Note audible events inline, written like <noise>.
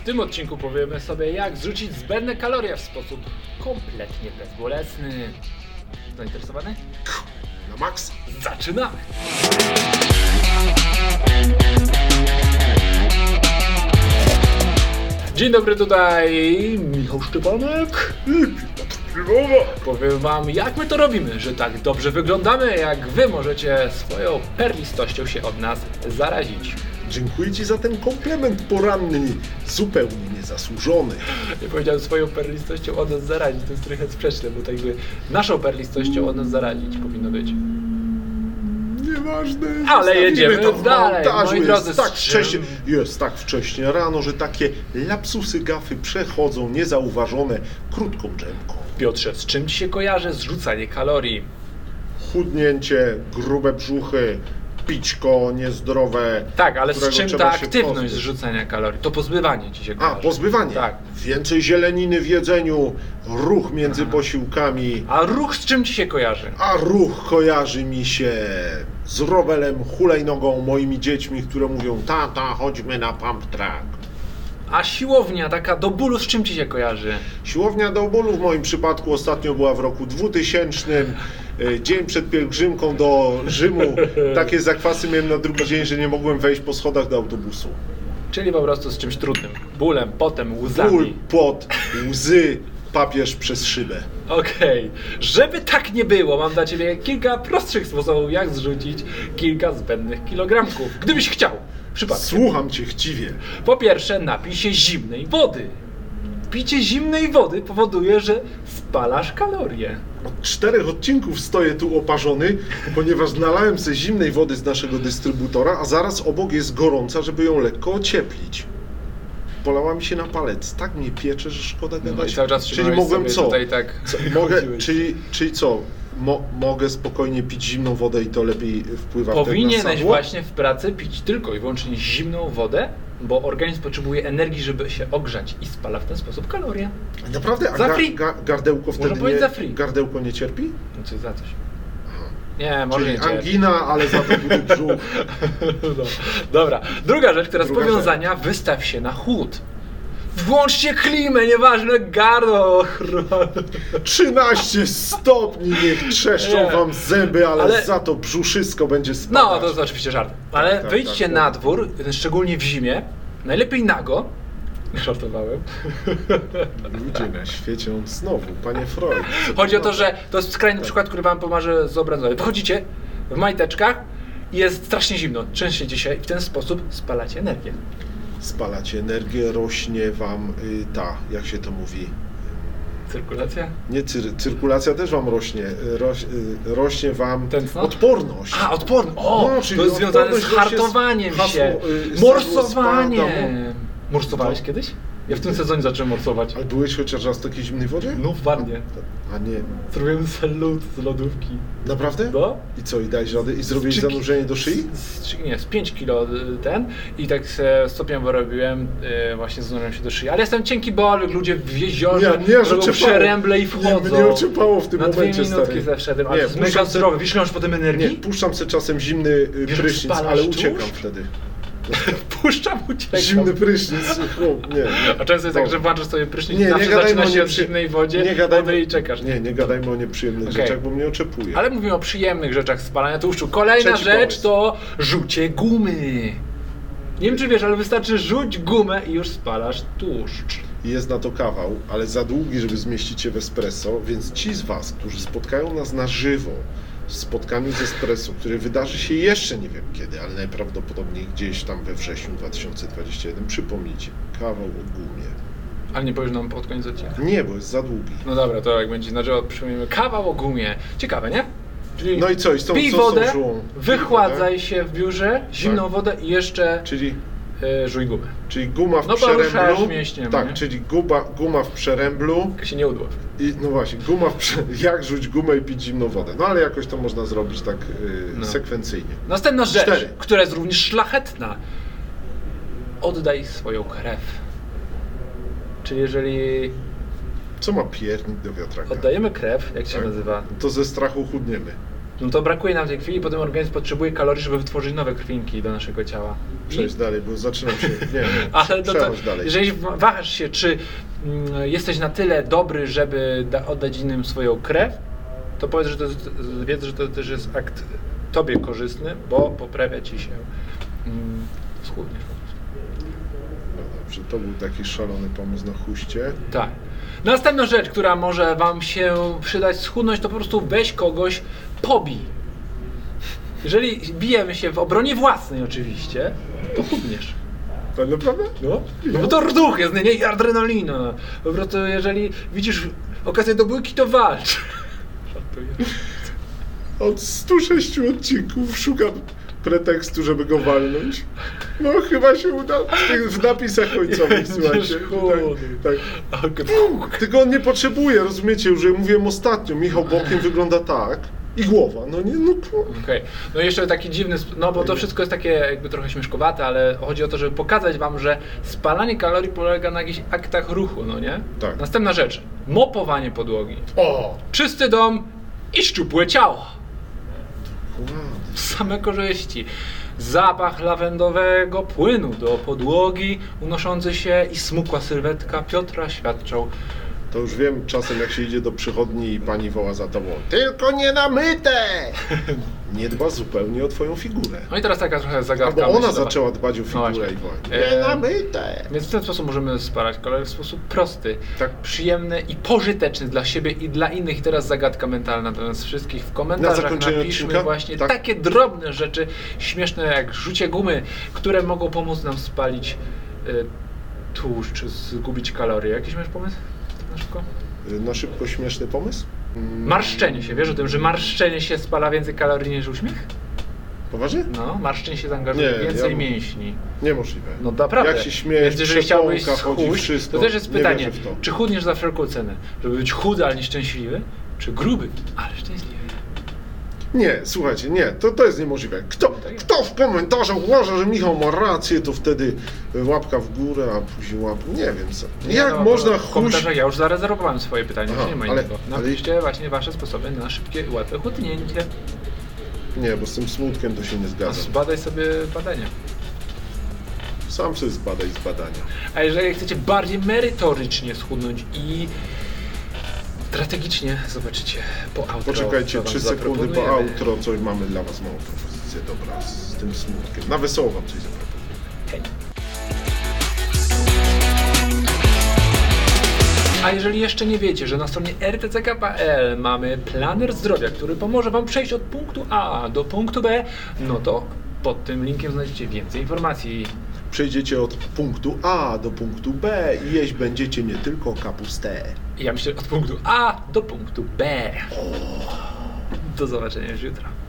W tym odcinku powiemy sobie, jak zrzucić zbędne kalorie w sposób kompletnie bezbolesny. Zainteresowany? Na maks? Zaczynamy! Dzień dobry, tutaj Michał Szczepanek. Powiem wam, jak my to robimy, że tak dobrze wyglądamy, jak wy możecie swoją perlistością się od nas zarazić. Dziękuję Ci za ten komplement poranny, zupełnie niezasłużony. Nie powiedziałem swoją perlistością od nas zarazić, to jest trochę sprzeczne, bo tak jakby naszą perlistością od nas zarazić powinno być. Nieważne. Ale zostawimy jedziemy to w dalej, montażu. moi jest, drodzy, tak z czym- wcześnie, jest tak wcześnie rano, że takie lapsusy gafy przechodzą niezauważone krótką drzemką. Piotrze, z czym ci się kojarzy zrzucanie kalorii? Chudnięcie, grube brzuchy, pićko niezdrowe. Tak, ale z którego czym ta trzeba się aktywność pozbyć. zrzucania kalorii? To pozbywanie ci się A, kojarzy. pozbywanie. Tak. Więcej zieleniny w jedzeniu, ruch między posiłkami. A ruch z czym ci się kojarzy? A ruch kojarzy mi się z rowerem, hulajnogą, moimi dziećmi, które mówią tata, chodźmy na pump track. A siłownia taka do bólu z czym ci się kojarzy? Siłownia do bólu w moim przypadku ostatnio była w roku 2000. y, Dzień przed pielgrzymką do Rzymu. Takie zakwasy miałem na drugi dzień, że nie mogłem wejść po schodach do autobusu. Czyli po prostu z czymś trudnym. Bólem, potem, łzami. Ból, pot, łzy, papież przez szybę. Okej, żeby tak nie było, mam dla Ciebie kilka prostszych sposobów, jak zrzucić kilka zbędnych kilogramków, gdybyś chciał. Przypadkiem. Słucham cię chciwie. Po pierwsze, napij się zimnej wody. Picie zimnej wody powoduje, że spalasz kalorie. Od czterech odcinków stoję tu oparzony, ponieważ nalałem sobie zimnej wody z naszego dystrybutora, a zaraz obok jest gorąca, żeby ją lekko ocieplić. Polała mi się na palec. Tak mnie piecze, że szkoda gadać. No i cały czas czyli trzymałeś mogłem sobie co? tutaj tak co <laughs> mogę, chodziłeś. czyli, czyli co? Mo, mogę spokojnie pić zimną wodę i to lepiej wpływa wtedy na Powinieneś samo? właśnie w pracy pić tylko i wyłącznie zimną wodę, bo organizm potrzebuje energii, żeby się ogrzać i spala w ten sposób kalorie. Naprawdę? A Za ga, free. ga, gardełko wtedy powiedzieć za nie, free. gardełko nie cierpi? No coś za coś. Nie, może Czyli nie cierpi. angina, ale za to duży brzuch. <laughs> No. Dobra, druga rzecz, teraz Druga powiązania, wystaw się na chłód. Włączcie klimę, nieważne, <laughs> garo, chro- 13 stopni, niech trzeszczą Nie. wam zęby, ale, Ale- za to brzuszysko będzie No, spadać. to jest oczywiście żart. Ale tak, wyjdźcie tak, na tak. dwór, szczególnie w zimie, najlepiej nago. Żartowałem. Ludzie na świecie, on znowu, panie Freud. Chodzi o to, że to jest skrajny przykład, który wam pomaże zobrazować. Wychodzicie w majteczkach i jest strasznie zimno. Częściej dzisiaj w ten sposób spalacie energię. Spalacie energię, rośnie wam y, ta, jak się to mówi, Cyrkulacja? nie cyr, cyrkulacja też wam rośnie, y, roś, y, rośnie wam Tętno? odporność. A, odporny. O, No, czyli to jest związane z odporność rośnie z hartowaniem hasło, się. y, z Morsowanie. spadam. Morsowałeś No. kiedyś? Ja w tym sezonie zacząłem morsować. Ale byłeś chociaż raz w takiej zimnej wodzie? No w wannie. A nie, Zrobiłem salut z lodówki. naprawdę? No. I co, i dałeś rady? I zrobiłeś Czy- zanurzenie do szyi? Z, z, nie, z 5 kilo y, ten i tak se stopniem wyrobiłem, y, właśnie zanurzyłem się do szyi. Ale jestem cienki bolek, ludzie w jeziorze Nie, nie, że robią oczepało. przeręble i Nie, wchodzą. mnie oczepało w tym Na momencie, dwie minutki stary. zawsze tym, Nie, ale to jest muszę mega sobie- zdrowy. Wiesz, potem Nie, energii? puszczam sobie czasem zimny y, Wiesz, prysznic, spalasz ale tłuszcz? uciekam wtedy. Puszczam, uciekam. Zimny prysznic. chłop, Nie, nie. A często jest tak, Dobra. że włączasz sobie prysznic No. Nie, i nie zawsze gadajmy zaczyna o się od nieprzy- zimnej wodzie, nie gadajmy- wody i czekasz. Nie, nie gadajmy o nieprzyjemnych Okej. rzeczach, bo mnie oczepuje. Ale mówimy o przyjemnych rzeczach spalania tłuszczu. Kolejna Trzeci rzecz pomysł. to rzucie gumy. Nie wiem czy wiesz, ale wystarczy rzuć gumę i już spalasz tłuszcz. Jest na to kawał, ale za długi, żeby zmieścić się w espresso, więc ci z Was, którzy spotkają nas na żywo w spotkaniu z espresso, które wydarzy się jeszcze nie wiem kiedy, ale najprawdopodobniej gdzieś tam we wrześniu 2021, przypomnijcie, kawał o gumie. Ale nie powiesz nam pod koniec odcinka. Nie, bo jest za długi. No dobra, to jak będzie na drzewo, przypomnijmy kawał o gumie. Ciekawe, nie? Czyli No i co, i z tą, pij co wodę, z tą żółą? wychładzaj się w biurze, zimną Tak. wodę i jeszcze Czyli y, żuj gumę. Czyli guma w No bo ruszasz przeręblu. mięśniem, tak, nie? czyli guba, guma w przeręblu Jak się nie udław. i no właśnie, guma w prze... <laughs> jak rzuć gumę i pić zimną wodę. No ale jakoś to można zrobić tak yy, No. sekwencyjnie. Następna rzecz, Cztery. która jest również szlachetna. Oddaj swoją krew. Czyli jeżeli Co ma piernik do wiatraka? oddajemy krew, jak się Tak. nazywa? To ze strachu chudniemy. No to brakuje nam tej krwi i potem organizm potrzebuje kalorii, żeby wytworzyć nowe krwinki do naszego ciała. I- Przejdź dalej, bo zaczynam <laughs> się. Nie, nie. Ale no to, przechodź dalej. jeżeli wa- wahasz się, czy mm, jesteś na tyle dobry, żeby da, oddać innym swoją krew, to powiedz, że to, jest- wiedz, że to też jest akt tobie korzystny, bo poprawia ci się mm, schudniesz po prostu. No dobrze, to był taki szalony pomysł na huście. Tak. Następna rzecz, która może wam się przydać schudnąć, to po prostu weź kogoś, pobij. Jeżeli bijemy się w obronie własnej oczywiście, to chudniesz. Tak naprawdę? No, no bo to rduch jest, nie, nie I adrenalina. Po prostu jeżeli widzisz okazję do bójki, to walcz. <laughs> Żartuję. Od 106 odcinków szukam pretekstu, żeby go walnąć. No chyba się uda. W tych- W napisach <laughs> końcowych, Jedziesz słuchajcie. chudy. Tak, A, k- tak. Tylko on nie potrzebuje, rozumiecie? Już jak mówiłem ostatnio, Michał Bokiem wygląda tak i głowa. No nie, no ku- Okej, no i jeszcze taki dziwny, sp- no bo to wszystko jest takie jakby trochę śmieszkowate, ale chodzi o to, żeby pokazać wam, że spalanie kalorii polega na jakichś aktach ruchu, no nie? Tak. Następna rzecz, mopowanie podłogi. O! Czysty dom i szczupłe ciało. Wow. Same korzyści. Zapach lawendowego płynu do podłogi unoszący się i smukła sylwetka Piotra świadczą. To już wiem czasem, jak się idzie do przychodni i pani woła za tobą Tylko nie namyte! <laughs> Nie dba zupełnie o twoją figurę. No i teraz taka trochę zagadka. Albo ona myślowa. zaczęła dbać o tak. No właśnie. figurę i woła Eee. Nie namyte! Więc w ten sposób możemy spalać kalorie w sposób prosty, Tak. przyjemny i pożyteczny dla siebie i dla innych. I teraz zagadka mentalna dla nas wszystkich. W komentarzach zakończenie napiszmy odcinka? właśnie Tak. takie drobne rzeczy śmieszne jak rzucie gumy, które mogą pomóc nam spalić y, tłuszcz, czy zgubić kalorie. Jakiś masz pomysł? Na szybko? Na No szybko śmieszny pomysł? Mm, Marszczenie się, wiesz o tym, że marszczenie się spala więcej kalorii niż uśmiech? Poważnie? No, marszczenie się zaangażuje Nie, więcej ja- mięśni. Niemożliwe. No naprawdę. Jak się śmiejesz, Więc jeżeli chciałbyś przepołka, chodzi schudć, wszystko. to też jest Nie pytanie, wierzę w to. czy chudniesz za wszelką cenę? Żeby być chudy, ale nieszczęśliwy? Czy gruby, ale szczęśliwy? Nie, słuchajcie, nie, to, to jest niemożliwe. Kto, kto w komentarzach uważa, że Michał ma rację, to wtedy e, łapka w górę, a później łapka... Nie wiem co. Jak no, można bo W chuść... komentarzach ja już zarezerwowałem swoje pytanie, Aha, już nie ma ale- innego. ale- Napiszcie właśnie wasze sposoby na szybkie i łatwe chudnięcie. Nie, bo z tym smutkiem to się nie A zgadzam. zbadaj sobie badanie. Sam sobie zbadaj z badania. A jeżeli chcecie bardziej merytorycznie schudnąć i strategicznie, zobaczycie po outro. Poczekajcie co wam 3 sekundy po zaproponujemy. outro, co mamy dla was małą propozycję, dobra, z tym smutkiem. Na wesoło wam coś zaproponuję. Hej. A jeżeli jeszcze nie wiecie, że na stronie rtck.pl mamy planer zdrowia, który pomoże Wam przejść od punktu A do punktu B, no to pod tym linkiem znajdziecie więcej informacji. Przejdziecie od punktu A do punktu B i jeść będziecie nie tylko kapustę. I Ja myślę od punktu A do punktu B. Do zobaczenia już jutro.